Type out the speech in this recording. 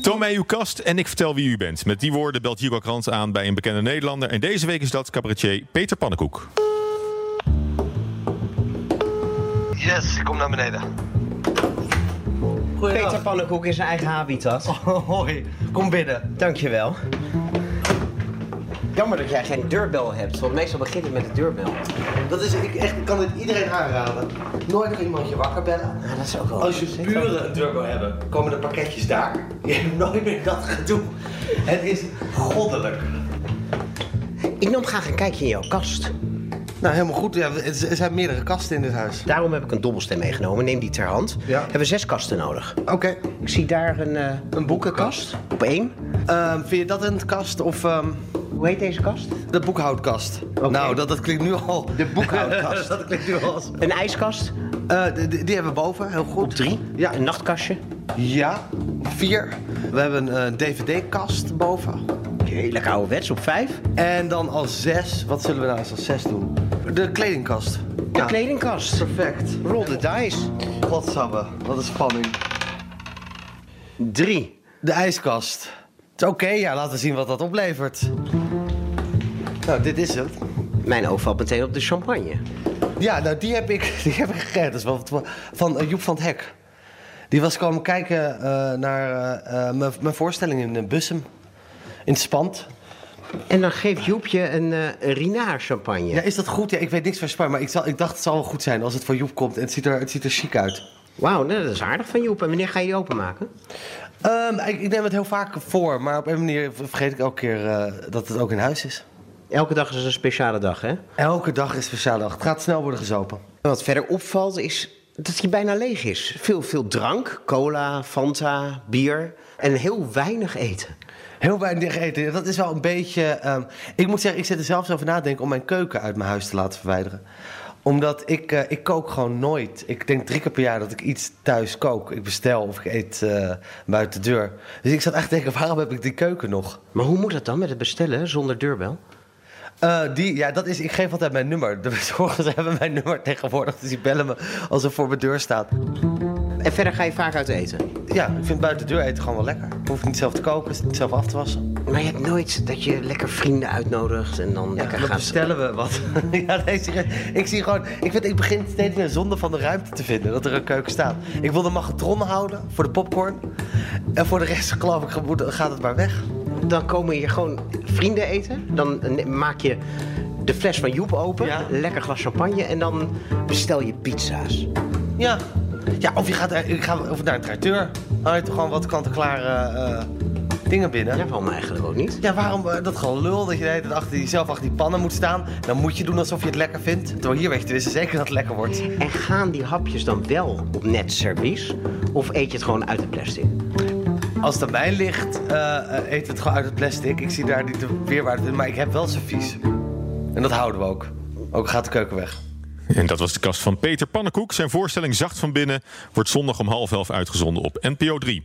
Toon mij uw kast en ik vertel wie u bent. Met die woorden belt Hugo Krans aan bij een bekende Nederlander. En deze week is dat cabaretier Peter Pannenkoek. Yes, kom naar beneden. Peter Oh, Pannenkoek in zijn eigen habitat. Hoi, kom binnen. Dankjewel. Jammer dat jij geen deurbel hebt, want meestal begint het met de deurbel. Dat is, ik, echt, ik kan dit iedereen aanraden. Nooit nog iemand je wakker bellen. Ja, dat is ook wel... Als je buren een turbo hebben, komen de pakketjes daar. Je hebt nooit meer dat gedoe. Het is goddelijk. Ik nam graag een kijkje in jouw kast. Nou, helemaal goed. Ja, het z- er zijn meerdere kasten in dit huis. Daarom heb ik een dobbelsteen meegenomen. Neem die ter hand. Ja. Hebben we zes kasten nodig. Oké. Ik zie daar een, eh, Een boekenkast. op één. Ehm, vind je dat een kast of ehm, Hoe heet deze kast? de boekhoudkast? Oké. Nou, dat, dat klinkt nu al... De boekhoudkast. dat klinkt nu al... als- Een ijskast. Eh, die, die hebben we boven, heel goed. Op drie. Ja. Een nachtkastje. Ja, vier. We hebben een eh, dvd-kast boven. Heerlijk ouderwets op vijf. En dan als zes, wat zullen we nou eens als zes doen? De kledingkast. De kledingkast. Perfect. Roll the dice. Godsamme, wat een spanning. Drie. De ijskast. Het is Oké, ja, laten we zien wat dat oplevert. Nou, dit is het. Mijn oog valt meteen op de champagne. Ja, nou, die heb ik, die heb ik gekregen. Dat is wel wat- van eh, Joep van het Hek. Die was komen kijken eh, naar eh, eh, mijn- mijn voorstelling in eh, Bussum. In het Spand. En dan geeft Joepje een eh, een Rinaar champagne. Ja, is dat goed? Ja, ik weet niks van Spanje, maar ik, zal, ik dacht het zal wel goed zijn als het voor Joep komt. En het ziet er, het ziet er chic uit. Wauw, nou, dat is aardig van Joep. En wanneer ga je die openmaken? Ehm, ik, ik neem het heel vaak voor, maar op een manier vergeet ik elke keer eh, dat het ook in huis is. Elke dag is een speciale dag, hè? Elke dag is speciaal dag. Het gaat snel worden gezopen. En Wat verder opvalt is dat hij bijna leeg is. Veel, veel drank, cola, Fanta, bier en heel weinig eten. Heel weinig eten. Dat is wel een beetje. ehm, ik moet zeggen, ik zit er zelfs over nadenken om mijn keuken uit mijn huis te laten verwijderen. Omdat ik, eh, ik kook gewoon nooit. Ik denk drie keer per jaar dat ik iets thuis kook. Ik bestel of ik eet eh, buiten de deur. Dus ik zat echt te denken, waarom heb ik die keuken nog? Maar hoe moet dat dan met het bestellen zonder deurbel? Eh, die, ja, dat is, ik geef altijd mijn nummer. De bezorgers hebben mijn nummer tegenwoordig. Dus die bellen me als er voor mijn deur staat. En verder ga je vaak uit eten. Ja, ik vind buiten de deur eten gewoon wel lekker. Ik hoef niet zelf te koken, niet zelf af te wassen. Maar je hebt nooit dat je lekker vrienden uitnodigt en dan lekker Dan gaat... bestellen we wat. ja, nee, serieus. ik zie gewoon... Ik, vind, ik begin steeds meer zonde van de ruimte te vinden dat er een keuken staat. Ik wil de magnetron houden voor de popcorn. En voor de rest geloof ik moet- gaat het maar weg. Dan komen hier gewoon vrienden eten. Dan eh, maak je de fles van Joep open, Ja. een lekker glas champagne... en dan bestel je pizza's. Ja. Ja, of je gaat, er- ik ga of naar een tracteur. Dan heb je toch gewoon wat kant-en-klaar eh, eh, dingen binnen. Ja, waarom eigenlijk ook niet? Ja, waarom eh, dat gewoon lul dat je de hele tijd achter die, zelf achter die pannen moet staan? Dan moet je doen alsof je het lekker vindt. Terwijl hier weet je tenminste zeker dat het lekker wordt. En gaan die hapjes dan wel op net servies? Of eet je het gewoon uit de plastic? Als het aan mij ligt, eh, eh, eet het gewoon uit het plastic. Ik zie daar niet de weerwaarde in, maar ik heb wel servies. En dat houden we ook. Ook gaat de keuken weg. En dat was de kast van Peter Pannenkoek. Zijn voorstelling Zacht van Binnen wordt zondag om half elf uitgezonden op NPO 3.